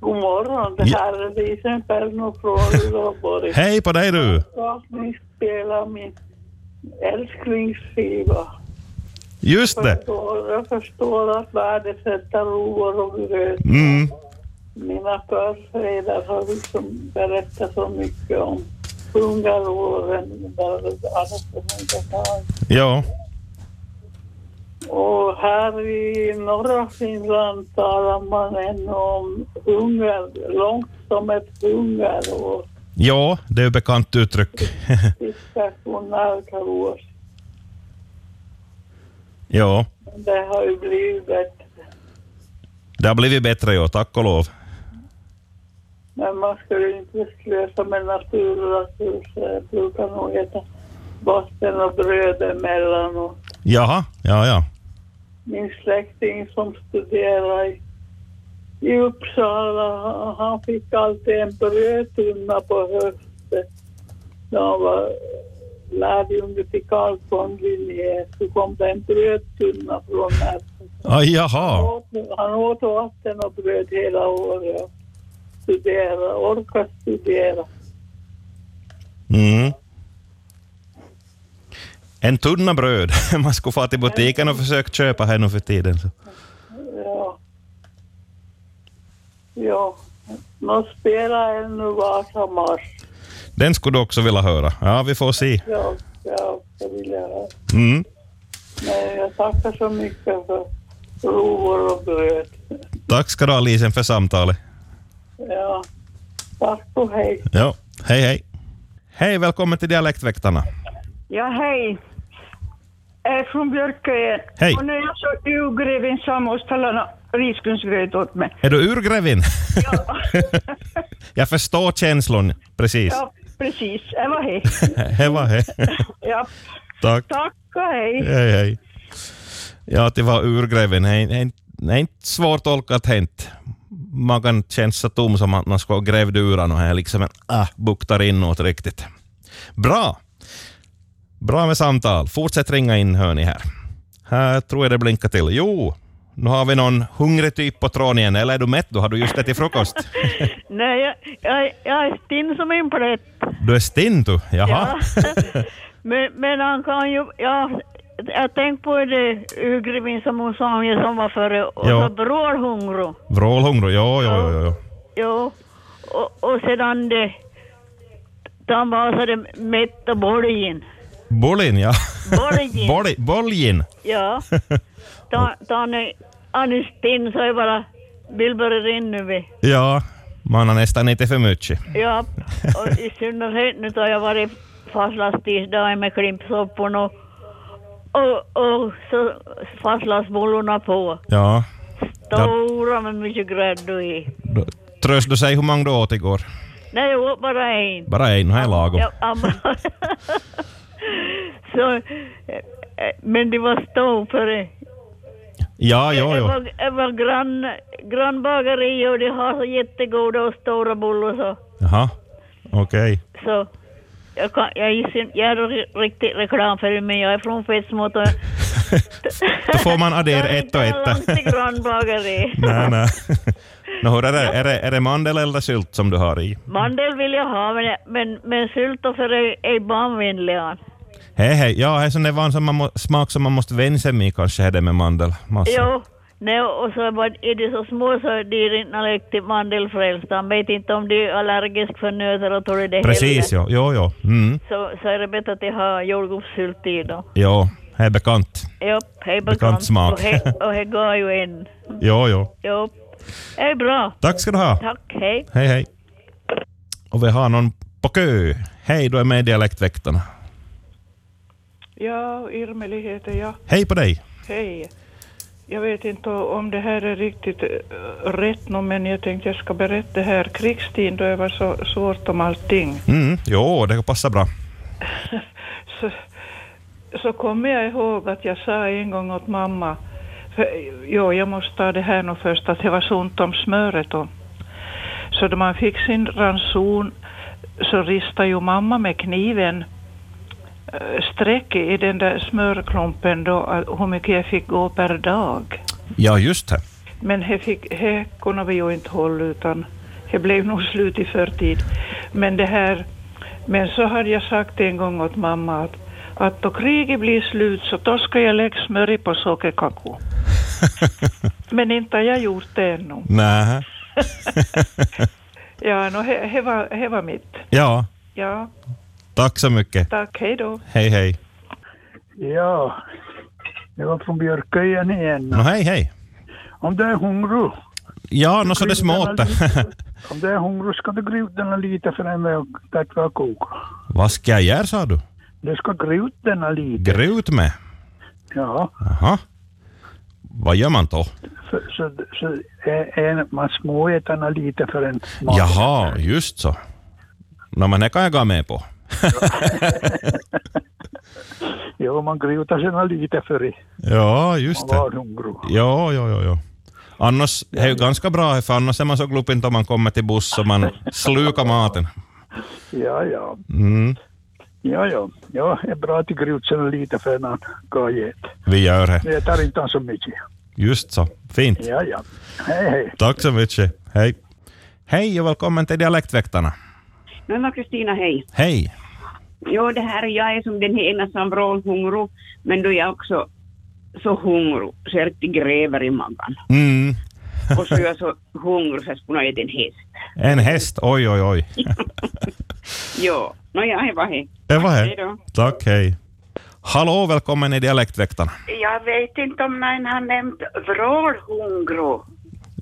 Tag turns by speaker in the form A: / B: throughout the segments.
A: God morgon, det här är Lisen Perno från Uleåborg.
B: Hej på dig du!
A: Ja, ni spelar min älsklingsskiva.
B: Just det!
A: Förstår, jag förstår att värdesätta roer och bröd.
B: Mm.
A: Mina förfäder har liksom berättat så mycket om hungaråren där allt som inte har.
B: Ja.
A: Och här i norra Finland talar man ännu om hunger, långt som ett hungerår.
B: Ja, det är ett bekant uttryck.
A: Fiskar från närkarås.
B: ja,
A: Men det har ju blivit bättre.
B: det har blivit bättre ja, tack och lov.
A: Men man ska ju inte slösa med naturresurser. Jag brukar nog äta vatten och bröd emellanåt.
B: Jaha, ja, ja.
A: min släkting som studerar i, i Uppsala, han fick alltid en brödtunna på hösten när han var lärjunge till Carl von Linné. Så kom det en brödtunna från Närke.
B: Ah, jaha,
A: Han åt vatten och bröd hela året och studerade, orkade studera.
B: Mm. En tunna bröd. Man skulle få till butiken och försöka köpa här nu för tiden. Så.
A: Ja. Ja. Nå spela ännu Vasamars.
B: Den skulle du också vilja höra. Ja, vi får se.
A: Ja, ja, det vill jag ha.
B: Mm.
A: Nej, jag tackar så mycket för rovor och bröd.
B: Tack ska du ha Lisen för samtalet.
A: Ja. Tack och hej.
B: Ja, hej hej. Hej, välkommen till Dialektväktarna.
C: Ja, hej. Jag är från Björköen.
B: Hej.
C: Och nu är jag så urgreven så jag måste hålla nå- risgrynsgröt åt mig.
B: Är du urgrevin?
C: Ja.
B: Jag förstår känslan precis.
C: ja, precis. Det var hej.
B: Hej va, hej.
C: Ja,
B: Tack.
C: tack och hej.
B: Hej hej. Ja, att det var urgrevin. Det är- det är inte- det är inte svårtolkat hänt. Man kan känna sig tom som att man ska ha grävd ur och här liksom en, ah, buktar inåt riktigt. Bra! Bra med samtal. Fortsätt ringa in hör ni här. Här tror jag det blinkar till. Jo, nu har vi någon hungrig typ på tråden igen. Eller är du mätt? Du har du just ätit frukost.
C: Nej, jag, jag, jag är stinn som en plätt.
B: Du är stinn du. Jaha.
C: Ja. men, men han kan ju... Ja, jag tänkte på det urgrevin som hon sa om jag som var före. Och
B: Ja.
C: så brålhungrig.
B: Vrålhungrig. Ja, ja, ja, ja, ja.
C: Jo, och, och sedan det... De var så det mätta borgen.
B: Bolin, ja.
C: Borgen,
B: Boli- Boljin.
C: ja. Ta, ta nu, Anus Stinn så är bara Billberg Rinnevi.
B: Ja, man har nästan inte för mycket.
C: Ja, och i synnerhet nu har jag varit fastlandstisdagen med klimpsopporna och, och, och så fastlandsbullarna på.
B: Ja.
C: Stora med mycket grädde i.
B: Då- Tröst du sig hur många du åt igår?
C: Nej, jag åt bara en.
B: Bara en, här är lagom.
C: Ja, amma. så, eh, eh, men det var stor för det.
B: Ja, ja,
C: Det
B: ja.
C: var, det var grann, grannbageri och de har så jättegoda och stora bullar så.
B: Jaha, okej.
C: så jag, kan, jag, är sin, jag är ri- riktigt reklam för det, men jag är från Fetsmått och...
B: Då får man addera ett och
C: Jag är inte
B: ett.
C: till grannbageri.
B: Nej, nej. Nå, hur är det? Är det, är det mandel eller sylt som du har i?
C: Mandel vill jag ha, men, men, men sylt och för det är barnvänligan.
B: Hej, hej. Ja, det är sån där van som man må, smak som man måste vänja sig med kanske, är det med mandel. Massa.
C: Jo, nej, och så bara, är de så små så är de inte riktigt mandelfrälsta. Han vet inte om de är allergisk för nötter och tror det
B: Precis,
C: heller.
B: ja. Jo, jo. Mm.
C: Så, så är det bättre att de har jordgubbssylt i då.
B: Jo, det är bekant.
C: Jopp, hej bekant.
B: smak.
C: Och he- Och det går ju en.
B: Jo, jo.
C: Jopp. Det är bra.
B: Tack ska du ha.
C: Tack, hej.
B: Hej, hej. Och vi har någon på kö. Hej, du är med i Dialektväktarna.
D: Ja, Irmeli heter jag.
B: Hej på dig.
D: Hej. Jag vet inte om det här är riktigt eh, rätt nu, men jag tänkte jag ska berätta det här. Krigstiden då det var så svårt om allting.
B: Mm, jo, det passar bra.
D: Så, så kommer jag ihåg att jag sa en gång åt mamma, för, jo jag måste ta det här nu först, att det var så ont om smöret då. Så då man fick sin ranson så ristade ju mamma med kniven eh, streck i den där smörklumpen då, att hur mycket jag fick gå per dag.
B: Ja, just det.
D: Men he, fick, he kunde vi ju inte hålla utan det blev nog slut i förtid. Men det här, men så hade jag sagt en gång åt mamma att, att då kriget blir slut så då ska jag lägga smör i på sockerkakor. men inte har jag gjort det ännu.
B: Nähä.
D: Ja, no, he, he, var, he var mitt.
B: ja,
D: Ja,
B: tack så mycket.
D: tack, hej då.
B: Hej hej.
E: Ja, jag var från Björköjen igen.
B: Nå No, hej hej.
E: Om du är hungrig,
B: Ja, nå så det småter.
E: om du är hungrig ska du grytorna lite främre och täcka och koka.
B: Vad ska jag göra sa du?
E: Du ska grytorna lite.
B: Grut med?
E: Ja,
B: Aha. Vad gör man då?
E: för, så, så är, är man småätarna lite för en mat.
B: Jaha, just så. No men det kan jag gå med på.
E: Jo, man grytar sina lite för i.
B: Ja, just
E: Man
B: det.
E: var hungrig.
B: Ja, ja, ja, ja. Annars det är ju ganska bra, för annars är man så glupint om man kommer till buss och man slukar maten.
E: Ja, ja.
B: Mm,
E: Ja, ja. Ja, är bra till grytorna lite för en gajet.
B: vi gör det.
E: Det tar inte så mycket.
B: Just så. Fint.
E: Ja, ja. Hej, hej.
B: Tack så mycket. Hej. Hej och välkommen till Dialektväktarna.
F: Men vad Kristina, hej.
B: Hej.
F: Jo, det här är jag som den här ena som vrålhungrig, men då är jag också så hungrig så jag riktigt gräver i magen.
B: Mm.
F: Och så är jag så hungrig så jag skulle ha ätit en häst.
B: En häst. Oj, oj, oj.
F: Jo, nåja, det var det.
B: Det var
F: Hej
B: det.
F: då.
B: Tack, hej. Hallå, välkommen till Dialektväktarna.
G: Jag vet inte om någon har nämnt vrålhungro.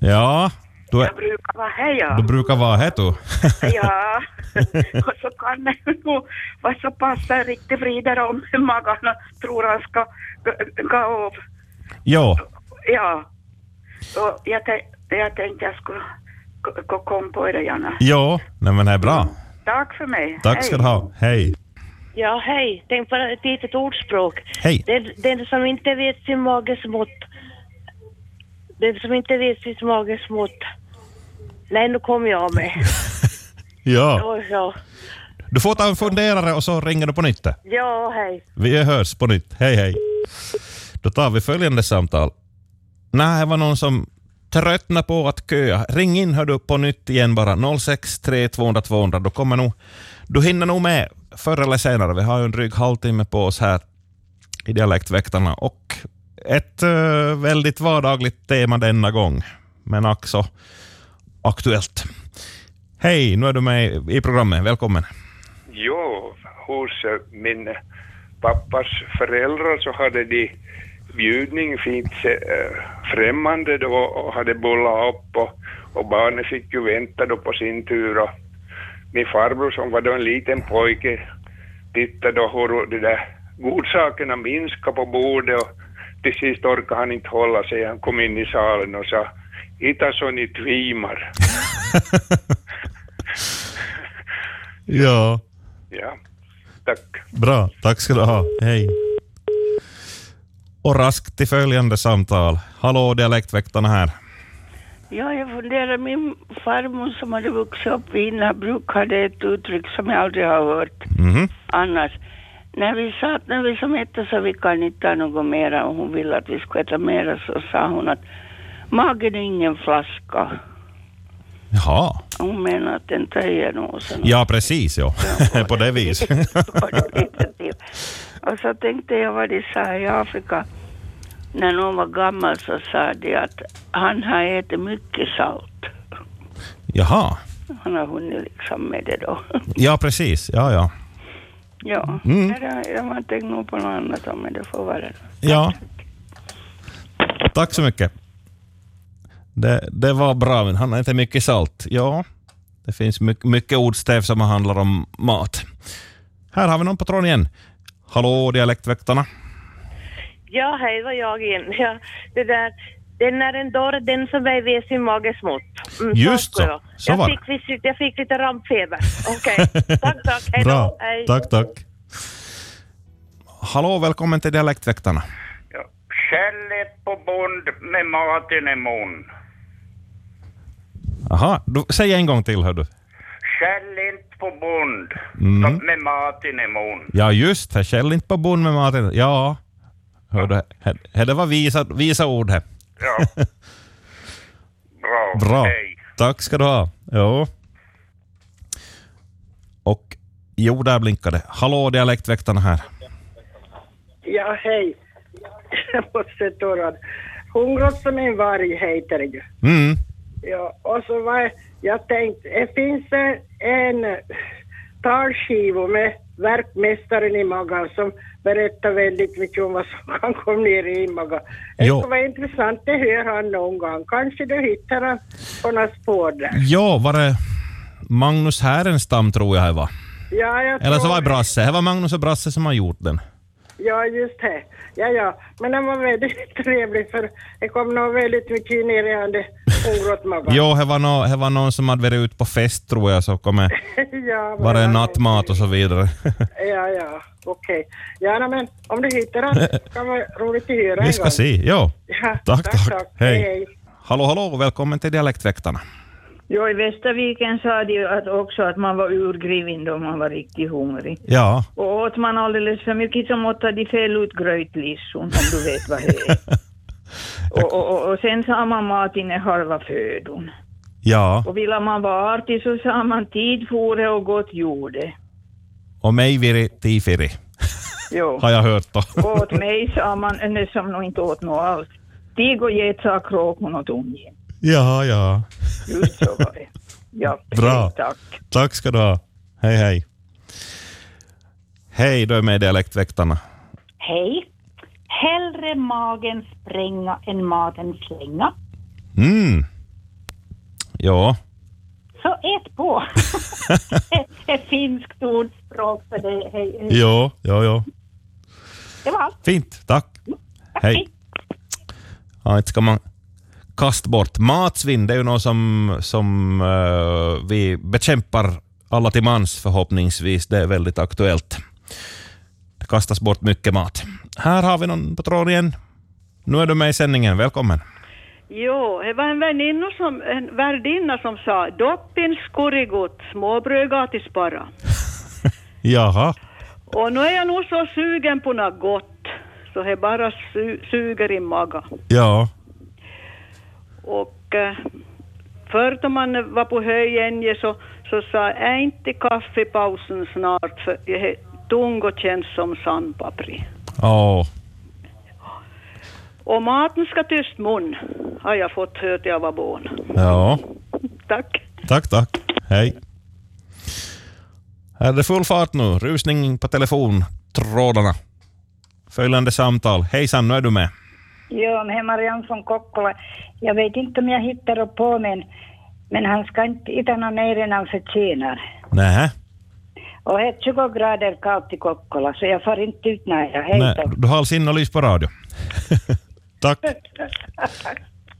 B: Ja, du,
G: Jag
B: är,
G: brukar vara här
B: du
G: ja.
B: brukar vara här du.
G: Ja, och så kan det nog vara så pass jag riktigt vrider om magen och tror han ska g- gå av.
B: Jo,
G: Ja, och jag, tän- jag tänkte jag skulle k- k- komma på det Janne.
B: jo. Nej men det är bra.
G: Tack för mig.
B: Tack ska du ha. Hej.
H: Ja, hej. Tänk på ett litet ordspråk.
B: Hej.
H: Den, den som inte vet sin mages mått. Den som inte vet sitt mages mått. Nej, nu kom jag av mig.
B: Ja.
H: Ja, ja.
B: Du får ta en funderare och så ringer du på nytt.
H: ja hej.
B: Vi hörs på nytt. Hej hej. Då tar vi följande samtal. Nej, det var någon som tröttnade på att köa. Ring in hör du på nytt igen bara. 063 200 200. Då kommer nog, du hinner nog med förr eller senare. Vi har ju en dryg halvtimme på oss här i Dialektväktarna och ett eh, väldigt vardagligt tema denna gång. Men också aktuellt. Hej, nu är du med i- i programmet. Välkommen.
I: Jo, hos eh, min pappas föräldrar så hade de bjudning, fint eh, främmande då och hade bullat upp och, och barnen fick ju vänta då på sin tur och min farbror som var då en liten pojke tittade då hur de där godsakerna minskade på bordet och till sist orkade han inte hålla sig. Han kom in i salen och sa ”Ita så ni tvimar”.
B: Ja.
I: Ja, tack.
B: Bra, tack ska du ha. Hej. Och raskt till följande samtal. Hallå, dialektväktarna här.
J: Ja, jag funderar. Min farmor som hade vuxit upp i Innabruk hade ett uttryck som jag aldrig har hört
B: Mhm.
J: annars. När vi sa att när vi som äter så vi kan inte ta något mera och hon ville att vi skulle äta mera så sa hon att magen är ingen flaska.
B: Jaha.
J: Hon menar att den töjer nog.
B: Ja, precis. Ja. På det viset.
J: och så tänkte jag vad de sa i Afrika. När någon var gammal så sa de att han har ätit mycket salt.
B: Jaha.
J: Han har hunnit liksom med det då.
B: Ja, precis. Ja, ja.
J: Ja,
B: Mm.
J: Nej, det, jag har tänkt nog på något annat om men det får vara det.
B: Ja. Tack så mycket. Det, det var bra, men han har inte mycket salt. Ja, det finns mycket, mycket ordstäv som handlar om mat. Här har vi någon på tråden igen. Hallå, dialektväktarna.
H: Ja, hej, var jag igen. Ja, det där. Den är en dörr, den som ej vet sin mages mått. Mm,
B: Just
H: ska
B: så.
H: jag.
B: Så
H: jag,
B: var det.
H: fick, visst- jag fick lite rampfeber. Okej. tack, tack. Hej
B: Bra.
H: då. Hej.
B: Tack, tack. Hallå, välkommen till Dialektväktarna.
G: Ja. Skället på bond med maten i mun.
B: Aha, du, säg en gång till, hör du.
G: Skäll inte på bond
B: Mm.
G: med maten i mun.
B: Ja, just det. Skäll inte på bond med maten. Ja, hör du. he- he- Det var visa, visa ord här.
G: Ja.
I: om.
B: Bra.
I: Hej.
B: Tack ska du ha. Ja. Och jo, där blinkade Hallå, dialektväktarna här.
K: Ja, hej. Jag måste torra. Hungrot som en varg heter det ju.
B: Mm.
K: Ja, och så var jag tänkt, det finns en, en talskiva med verkmästaren i Magan som berättar väldigt mycket om vad som kan komma ner i Magan. Det
B: Jo.
K: skulle vara intressant att höra han någon gång. Kanske du hittar han på några spår där.
B: Ja, var det Magnus Härenstam tror jag det var.
K: Ja, jag
B: Eller så
K: tror-
B: var det Brasse. Det var Magnus och Brasse som har gjort den.
K: Ja, just det. Ja, ja. Men den var väldigt trevlig för det kom nog väldigt mycket ner i han det hungrot Magan.
B: Jo, det var, nå- det var någon som hade varit ute på fest tror jag, så kom det-
K: ja,
B: var det nattmat och så vidare.
K: Ja, ja, okej. Ja, nej, men om du hittar den kan vara roligt att höra
B: Vi
K: en
B: ska
K: gång.
B: se. Ja.
K: Ja,
B: Tack, tack. Hej.
K: hej.
B: Hallå, hallå och välkommen till Dialektväktarna.
L: Ja, i Västerviken sa de ju att också att man var urgriven då man var riktigt hungrig.
B: Ja.
L: Och åt man alldeles för mycket så måtte de fel ut grötlisson, om du vet vad det är. och, och, och, och sen sa man maten är halva födon.
B: Ja.
L: Och ville man vara artig så sa man tid for det och gott gjorde.
B: Och mig viri tifiri,
L: Jo.
B: har jag hört då.
L: och åt mig sa man, "Äh, nej, som nog inte åt något alls. Tig och get sa kråkon och ungen.
B: Ja, ja.
L: Just så var det. Ja,
B: Bra.
L: Tack.
B: Tack ska du ha. Hej, hej. Hej, du är med i Dialektväktarna.
M: Hej. Hellre magen spränga än maten slänga.
B: Mm. Ja.
M: Så ät på. Det är finskt ordspråk för det. Hej, hej.
B: Ja, ja, ja.
M: Mm. Det var allt. Mm.
B: Fint, tack. Hej. Ja, inte ska man kasta bort. Matsvinn, det är ju något som, som eh, vi bekämpar alla till mans förhoppningsvis. Det är väldigt aktuellt. Det kastas bort mycket mat. Här har vi någon på tråden igen. Nu är du med i sändningen, välkommen.
N: Jo, det var en väninna som, en värdinna som sa doppin skorigot, småbröd gratis bara.
B: Jaha.
N: Och nu är jag nog så sugen på något gott, så det bara su- suger i magen.
B: Ja.
N: Och eh, förr då man var på Höjenje så, så sa är inte kaffepausen snart, för det är tung och känns som sandpapri.
B: Åh.
N: Och maten ska tyst mun, har jag fått höra till jag var barn.
B: Ja.
N: Tack.
B: Tack, tack. Hej. Här är det full fart nu. Rusning på telefontrådarna. Följande samtal. Hejsan, nu är du med.
O: Joo, me Marianne från Kokkola. Jag vet inte om jag hittar på men, men han ska inte äta något mer än han förtjänar.
B: Nähä.
O: Och det är 20 grader kallt i Kokkola så jag får inte ut nära. Hej
B: Nej,
O: då.
B: du har alls in och lys på radio. Tack.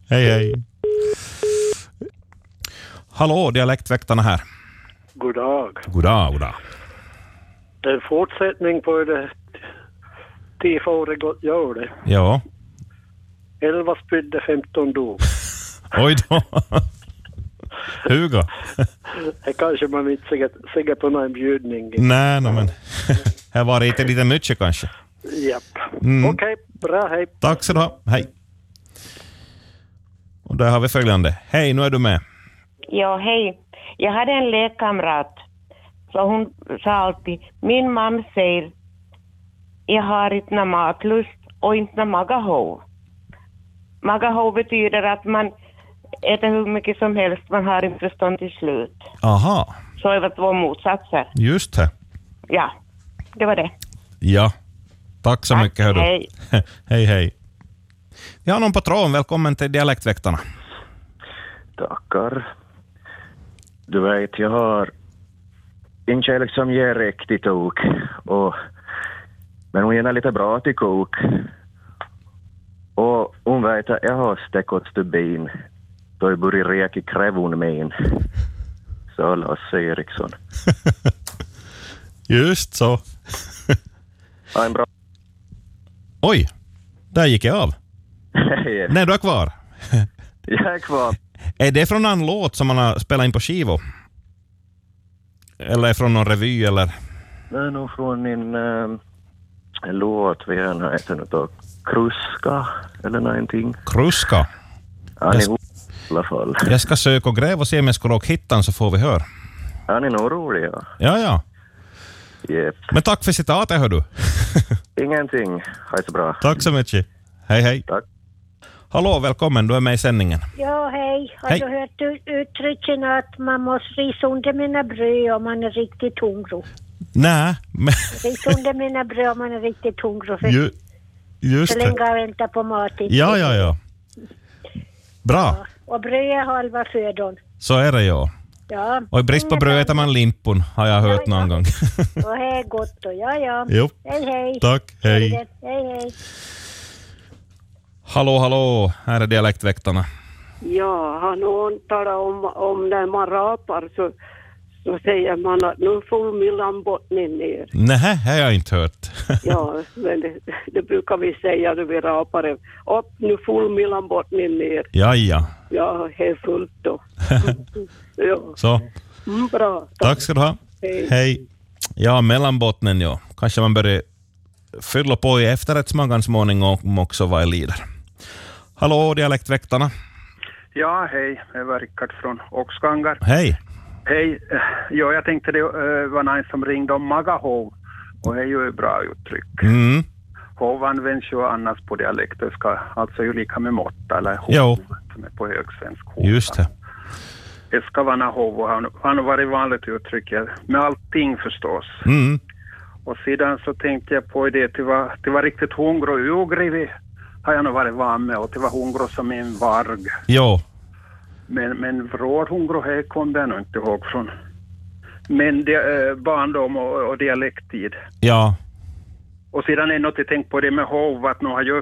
B: Hej, hej. Hallå, dialektväktarna här.
P: God dag.
B: Goddag, goddag.
P: Det är en fortsättning på det tifåret gott gör det.
B: Ja,
P: Elva spydde, femton dog.
B: oj då. Hugo.
P: Det kanske man inte säger- säger på någon bjudning.
B: Nej, no, men. Här var det lite mycket kanske.
P: Japp.
B: Mm.
P: Okej, bra, hej.
B: Tack så du ha. Hej. Och där har vi följande. Hej, nu är du med.
Q: Ja, hej. Jag hade en lekkamrat. Så hon sa alltid, min mamma säger, jag har inte någon matlust och inte någon magahov. Magahov betyder att man äter hur mycket som helst, man har inte förstånd till slut.
B: Aha,
Q: Så det var två motsatser.
B: just det.
Q: Ja, det var det.
B: Ja. Tack så mycket. Hördu.
Q: hej.
B: hej, hej. Vi har någon på tråden. Välkommen till Dialektväktarna.
R: Tackar. Du vet, jag har en kärlek som ger riktigt tok. Och, men hon ger lite bra till kok. Och hon vet att jag har stekot stubin. Då jag börjar reka i krävon min. Så Lasse Eriksson.
B: Just så.
R: Ha en bra...
B: Oj, där gick jag av.
R: Hej.
B: Nej, du är kvar.
R: Jag är kvar.
B: Är det från någon låt som man har spelat in på skivo? Eller från någon revy eller?
R: Det är nog från min ähm, låt vi gärna heter något. då. Kruska eller någonting.
B: Kruska?
R: Ja,
B: Jag
R: ni
B: s-
R: jävla fall.
B: Jag ska söka och gräva och se om jag skulle råka hitta den så får vi höra.
R: Han är nog rolig, ja.
B: Ja, ja.
R: Jep.
B: Men tack för citatet, hör du.
R: Ingenting. Ha det så bra.
B: Tack så mycket. Hej, hej.
R: Tack.
B: Hallå, välkommen. Du är med i sändningen.
M: Ja, hej. Har
B: Hej.
M: du hört u- uttrycken att man måste risa under mina bröd om man är riktigt hungrig?
B: Nej, men
M: Risa under mina bröd om man är riktigt hungrig. För
B: ju, just
M: så
B: det.
M: länge jag väntar på mat. inte.
B: Ja, ja, ja. Bra,
M: Och bröd är halva födan.
B: så är det ja.
M: Ja.
B: Och i brist på
M: Inget
B: bröd äter man limpun, har jag hört någon gång.
M: annat. Och här är gott och ja, ja.
B: Jo.
M: Hej, hej.
B: Tack, hej.
M: Hej, hej.
B: Hallå, hallå, här är dialektväktarna.
A: Ja, han talar om, om när man rapar så, så säger man att nu får mellanbottnen ner.
B: Nej, har jag inte hört.
A: Ja, men det, det brukar vi säga när vi rapar. Upp, nu får mellanbottnen ner.
B: Ja, ja.
A: Ja, det är fullt då. ja.
B: Så,
A: Mm, bra.
B: tack ska du ha.
A: Hej.
B: Hej. Ja, mellanbottnen ja. Kanske man börjar fylla på i efterrättsmaggan småningom också vad jag lider. Hallå, dialektväktarna.
S: Ja, hej. Det var Rickard från Oxgangar.
B: Hej.
S: Hej. Ja, jag tänkte det eh, var någon som ringde om magahov. Och det är ju ett bra uttryck.
B: Mm.
S: Hov används ju annars på dialekter, ska alltså ju lika med måtta eller hov
B: Jo,
S: som är på högsvensk.
B: just det.
S: Det ska vara någon hov och han har varit vanligt uttryck ja. med allting förstås.
B: Mm.
S: Och sedan så tänkte jag på det, det var, det var riktigt hungrig och ogrivi har jag nog varit van med och det var hungrig som en varg.
B: Jo,
S: Men, men vrålhungro här kom jag nog inte ihåg från men det, eh, barndom och, och dialekttid.
B: ja.
S: Och sedan är något jag tänkt på det med hov, att nu har ju,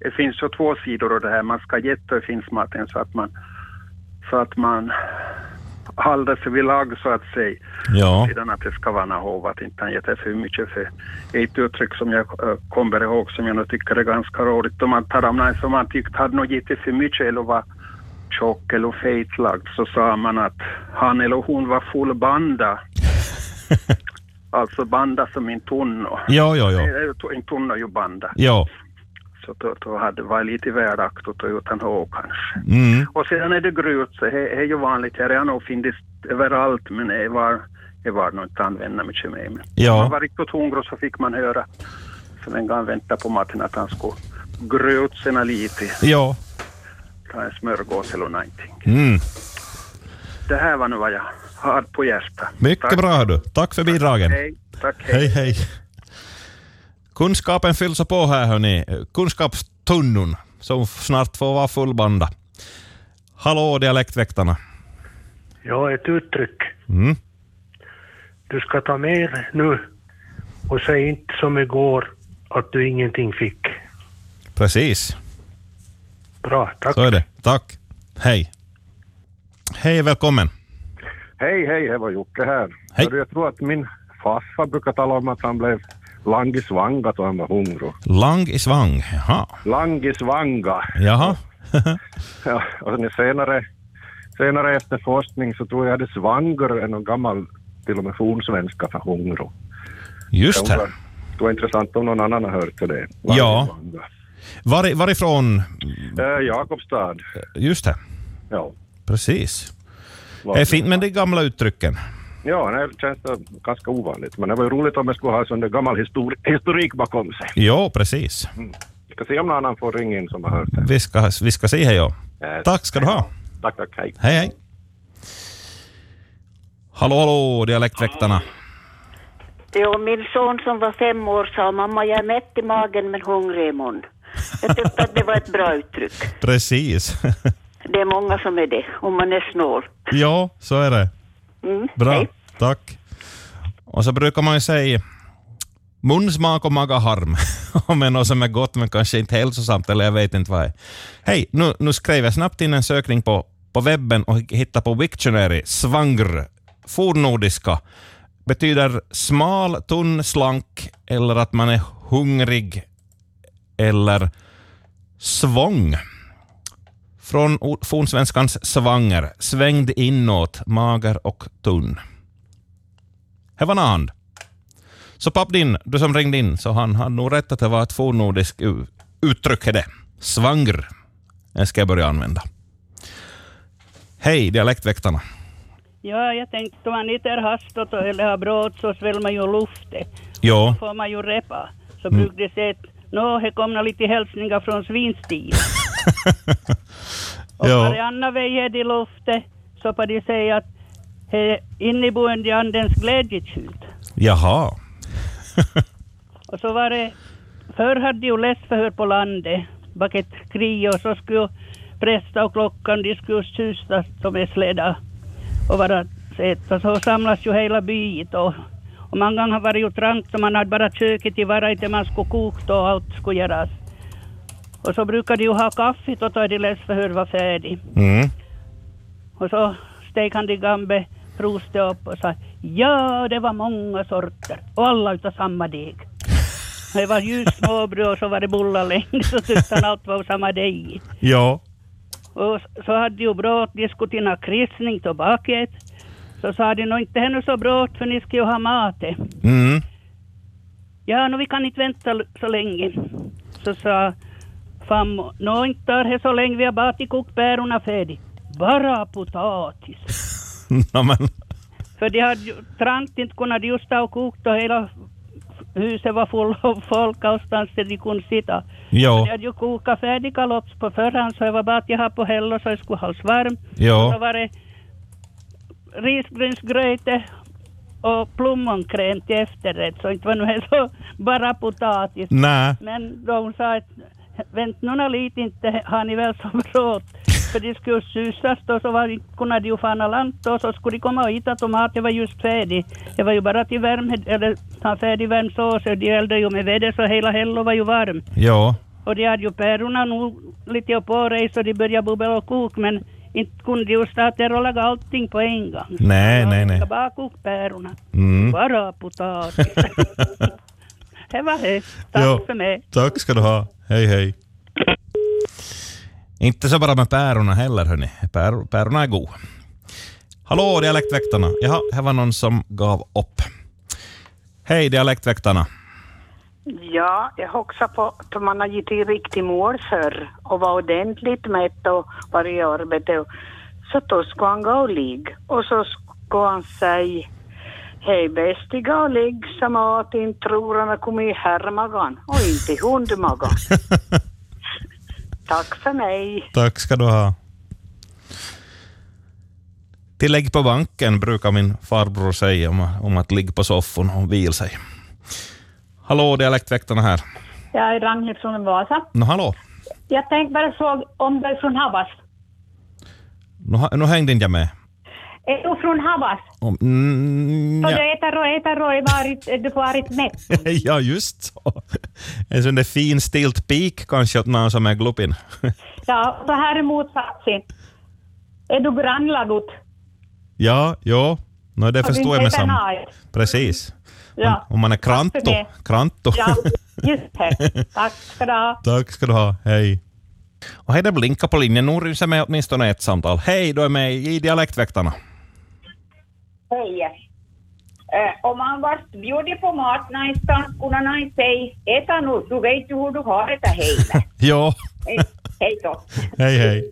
S: det finns ju två sidor av det här. Man ska ge till finskmaten så att man, så att man håller sig vid lag så att säga.
B: Ja.
S: Sedan att det ska vara något hov, att inte han gett det för mycket. För det är ett uttryck som jag eh, kommer ihåg som jag nog tycker är ganska roligt. Om man tar om någon som man tyckte hade nog gett det för mycket eller var tjock eller fejtlagd så sa man att han eller hon var full banda. alltså banda som en tunno.
B: Ja, ja, ja.
S: Det är ju- En tunno är ju banda.
B: Ja.
S: Så då, då hade det varit lite värdaktigt och utan hår kanske.
B: Mm.
S: Och sedan är det grut, så det det är ju vanligt. här. Det har nog funnits överallt men det var, det var nog inte använda mycket mer. Men
B: Ja.
S: Om man var riktigt hungrig så fick man höra så länge han väntade på maten att han skulle grötsena lite.
B: Ja.
S: Ta en smörgås eller någonting.
B: Mm.
S: Det här var nu vad jag hade på hjärtat.
B: Mycket bra hör du. Tack för bidragen.
S: Hej, tack, hej.
B: Hej, hej. Kunskapen fylls på här hörni. Kunskapstunnun som snart får vara fullbanda. Hallå dialektväktarna.
T: Ja, ett uttryck.
B: Mm.
T: Du ska ta med er nu och säg inte som igår att du ingenting fick.
B: Precis.
T: Bra, tack.
B: Så är det. Tack. Hej. Hej, välkommen.
U: Hej, hej, det var Jocke här.
B: Hej.
U: Jag tror att min farfar brukar tala om att han blev langisvanga då han var hungrig.
B: Lang i svang. Jaha.
U: Langisvanga.
B: Jaha.
U: Ja, och sen senare, senare efter forskning så tror jag det svanger är någon gammal, till och med fornsvenska för hungrig.
B: Just
U: det.
B: det.
U: Det var intressant om någon annan har hört det. Langisvanga.
B: Ja. Var, varifrån? Mm.
U: Eh, Jakobstad.
B: Just det.
U: Ja.
B: Precis.
U: Var-
B: Det är fint med de gamla uttrycken.
U: Ja, det känns det ganska ovanligt. Men det var ju roligt om jag skulle ha sån där gammal histori- historik bakom sig.
B: Ja, precis.
U: Vi ska se om någon annan får ringa in som har hört.
B: Vi ska, vi ska se här ja.
U: Eh,
B: Tack ska du ha.
U: Tack, tack, hej.
B: Hej, hej. Hallå, hallå, dialektväktarna.
V: Jo, min son som var fem år sa mamma jag är mätt i magen men hungrig imorgon. Jag tyckte att det var ett bra uttryck.
B: Precis.
V: Det är många som är det, om man är snål.
B: ja, så är det.
V: Mm.
B: Bra, tack. Och så brukar man ju säga munsmak och magaharm. Om det är något som är gott men kanske inte hälsosamt eller jag vet inte vad det är. Hej, nu, nu skrev jag snabbt in en sökning på, på webben och hittade på Wiktionary, svangr, fornnordiska. Betyder smal, tunn, slank eller att man är hungrig eller svång. Från o- fornsvenskans svanger, svängd inåt, mager och tunn. Här var en hand. Så papp din, du som ringde in, så han hade nog rätt att det var ett fornnordiskt u- uttryck. är Det. Svangr. Den ska jag börja använda. Hej, dialektväktarna.
W: Ja, jag tänkte om man inte är hastigt och- eller har brått så sväller man ju luften.
B: Ja.
W: Då får man ju repa. Så
B: Mm.
W: brukar det säga att nå, här kommer lite hälsningar från svinstil. och
B: Ja.
W: varannan väjer de luften så får de säga att här inneboende i andens glädjetjut.
B: Jaha.
W: Och så var det, förr hade de ju läsförhör på landet, bak ett krig och så skulle prästa och klockan, de skulle tjustas som är släda och vara sett. Och så samlas ju hela byn och, och många gånger var det ju trangt så man hade bara köket i vara inte man skulle koka och allt skulle göras. Och så brukade de ju ha kaffet och då de läsförhör var färdig.
B: Mm.
W: Och så steg han till gambe, proste upp och sa ja, det var många sorter och alla utav samma deg. Det var ljus småbröd och så var det bullarlängd så tyckte han allt var av samma deg.
B: Ja.
W: Och så hade ju brått, de skulle till någon kristning till baket. Så sa de, nå inte hända så brått för ni ska ju ha matet.
B: Mm.
W: Ja, nu vi kan inte vänta l- så länge. Så sa farmor, nå inte tar det så länge, vi har bara till kokt bärorna färdigt. Bara potatis.
B: Nå, men,
W: För de hade ju trangt, inte kunde de just ta och kokt och hela huset var fullt av folk allstans där de kunde sitta.
B: Ja.
W: Så de hade ju kokat färdiga lops på förhand så det var bara att jag hade på häll och så det skulle hållas varm.
B: Ja.
W: Och så var det risgrynsgröte och plommonkräm till efterrätt så inte var nu helt så bara potatis.
B: Nä.
W: Men de sa att vänt nu nå lite inte har ni väl så brått. För de skulle susas då så var, kunde de ju fana land då så skulle de komma och hitta tomater var just färdig. Det var ju bara till värme eller ta färdig värm sås och de eldade ju med väder så hela hello var ju varm.
B: ja.
W: Och de hade ju pärorna nog lite på dig så de började bubbla och koka men inte kunde de ju starta där och laga allting på en gång.
B: Nej, nej, nej.
W: Jag bara koka pärorna.
B: Mm.
W: Bara potatis. det var det. Tack
B: Jo.
W: för mig.
B: Tack ska du ha. Hej, hej. Inte så bara med pärorna heller, hörni. Pär, pärorna är god. Hallå, dialektväktarna. Jaha, här var någon som gav upp. Hej, dialektväktarna.
C: Ja, jag hoxar på att man har gått i riktig mål förr och var ordentligt mätt och var i arbete. Och- Så då ska han gå och ligga och så ska han säga Hej bästi gå och ligg som att inte tror han har kommit i herrmagan och inte i hundmagan. Tack för mig.
B: Tack ska du ha. Tillägg på banken brukar min farbror säga om, om att ligga på soffan och vila sig. Hallå, dialektväktarna här.
M: Jag är Ragnhild från Vasa.
B: Nå, hallå.
M: Jag tänkte bara fråga om du är från Havas.
B: Nu, ha- nu hängde inte jag med.
M: Är du från Havas?
B: Om- Mm,
M: Har
B: ja.
M: du ätit och ätit och varit, du varit mätt?
B: ja, just så. En sån där fin stilt pik kanske åt någon som är glupin.
M: Ja, så här är motsatsen. Är du grannlagot?
B: ja, ja. Nå, det
M: Har du
B: förstår jag
M: inte
B: med
M: ätit
B: samma.
M: något?
B: Precis.
M: Ja.
B: Om man är
M: Tack för
B: kranto.
M: det.
B: Kranto.
M: Ja, just det. Tack ska du ha.
B: Tack ska du ha. Hej. Och hej, det blinkar på linjen. Nu ryser med åtminstone ett samtal. Hej, du är med i Dialektväktarna.
D: Hej. Eh, om man vart bjuden på mat någonstans kunde någon säga äta nu, du vet ju hur du har det där hemma.
B: Ja,
D: Eh, Hej då.
B: hej hej.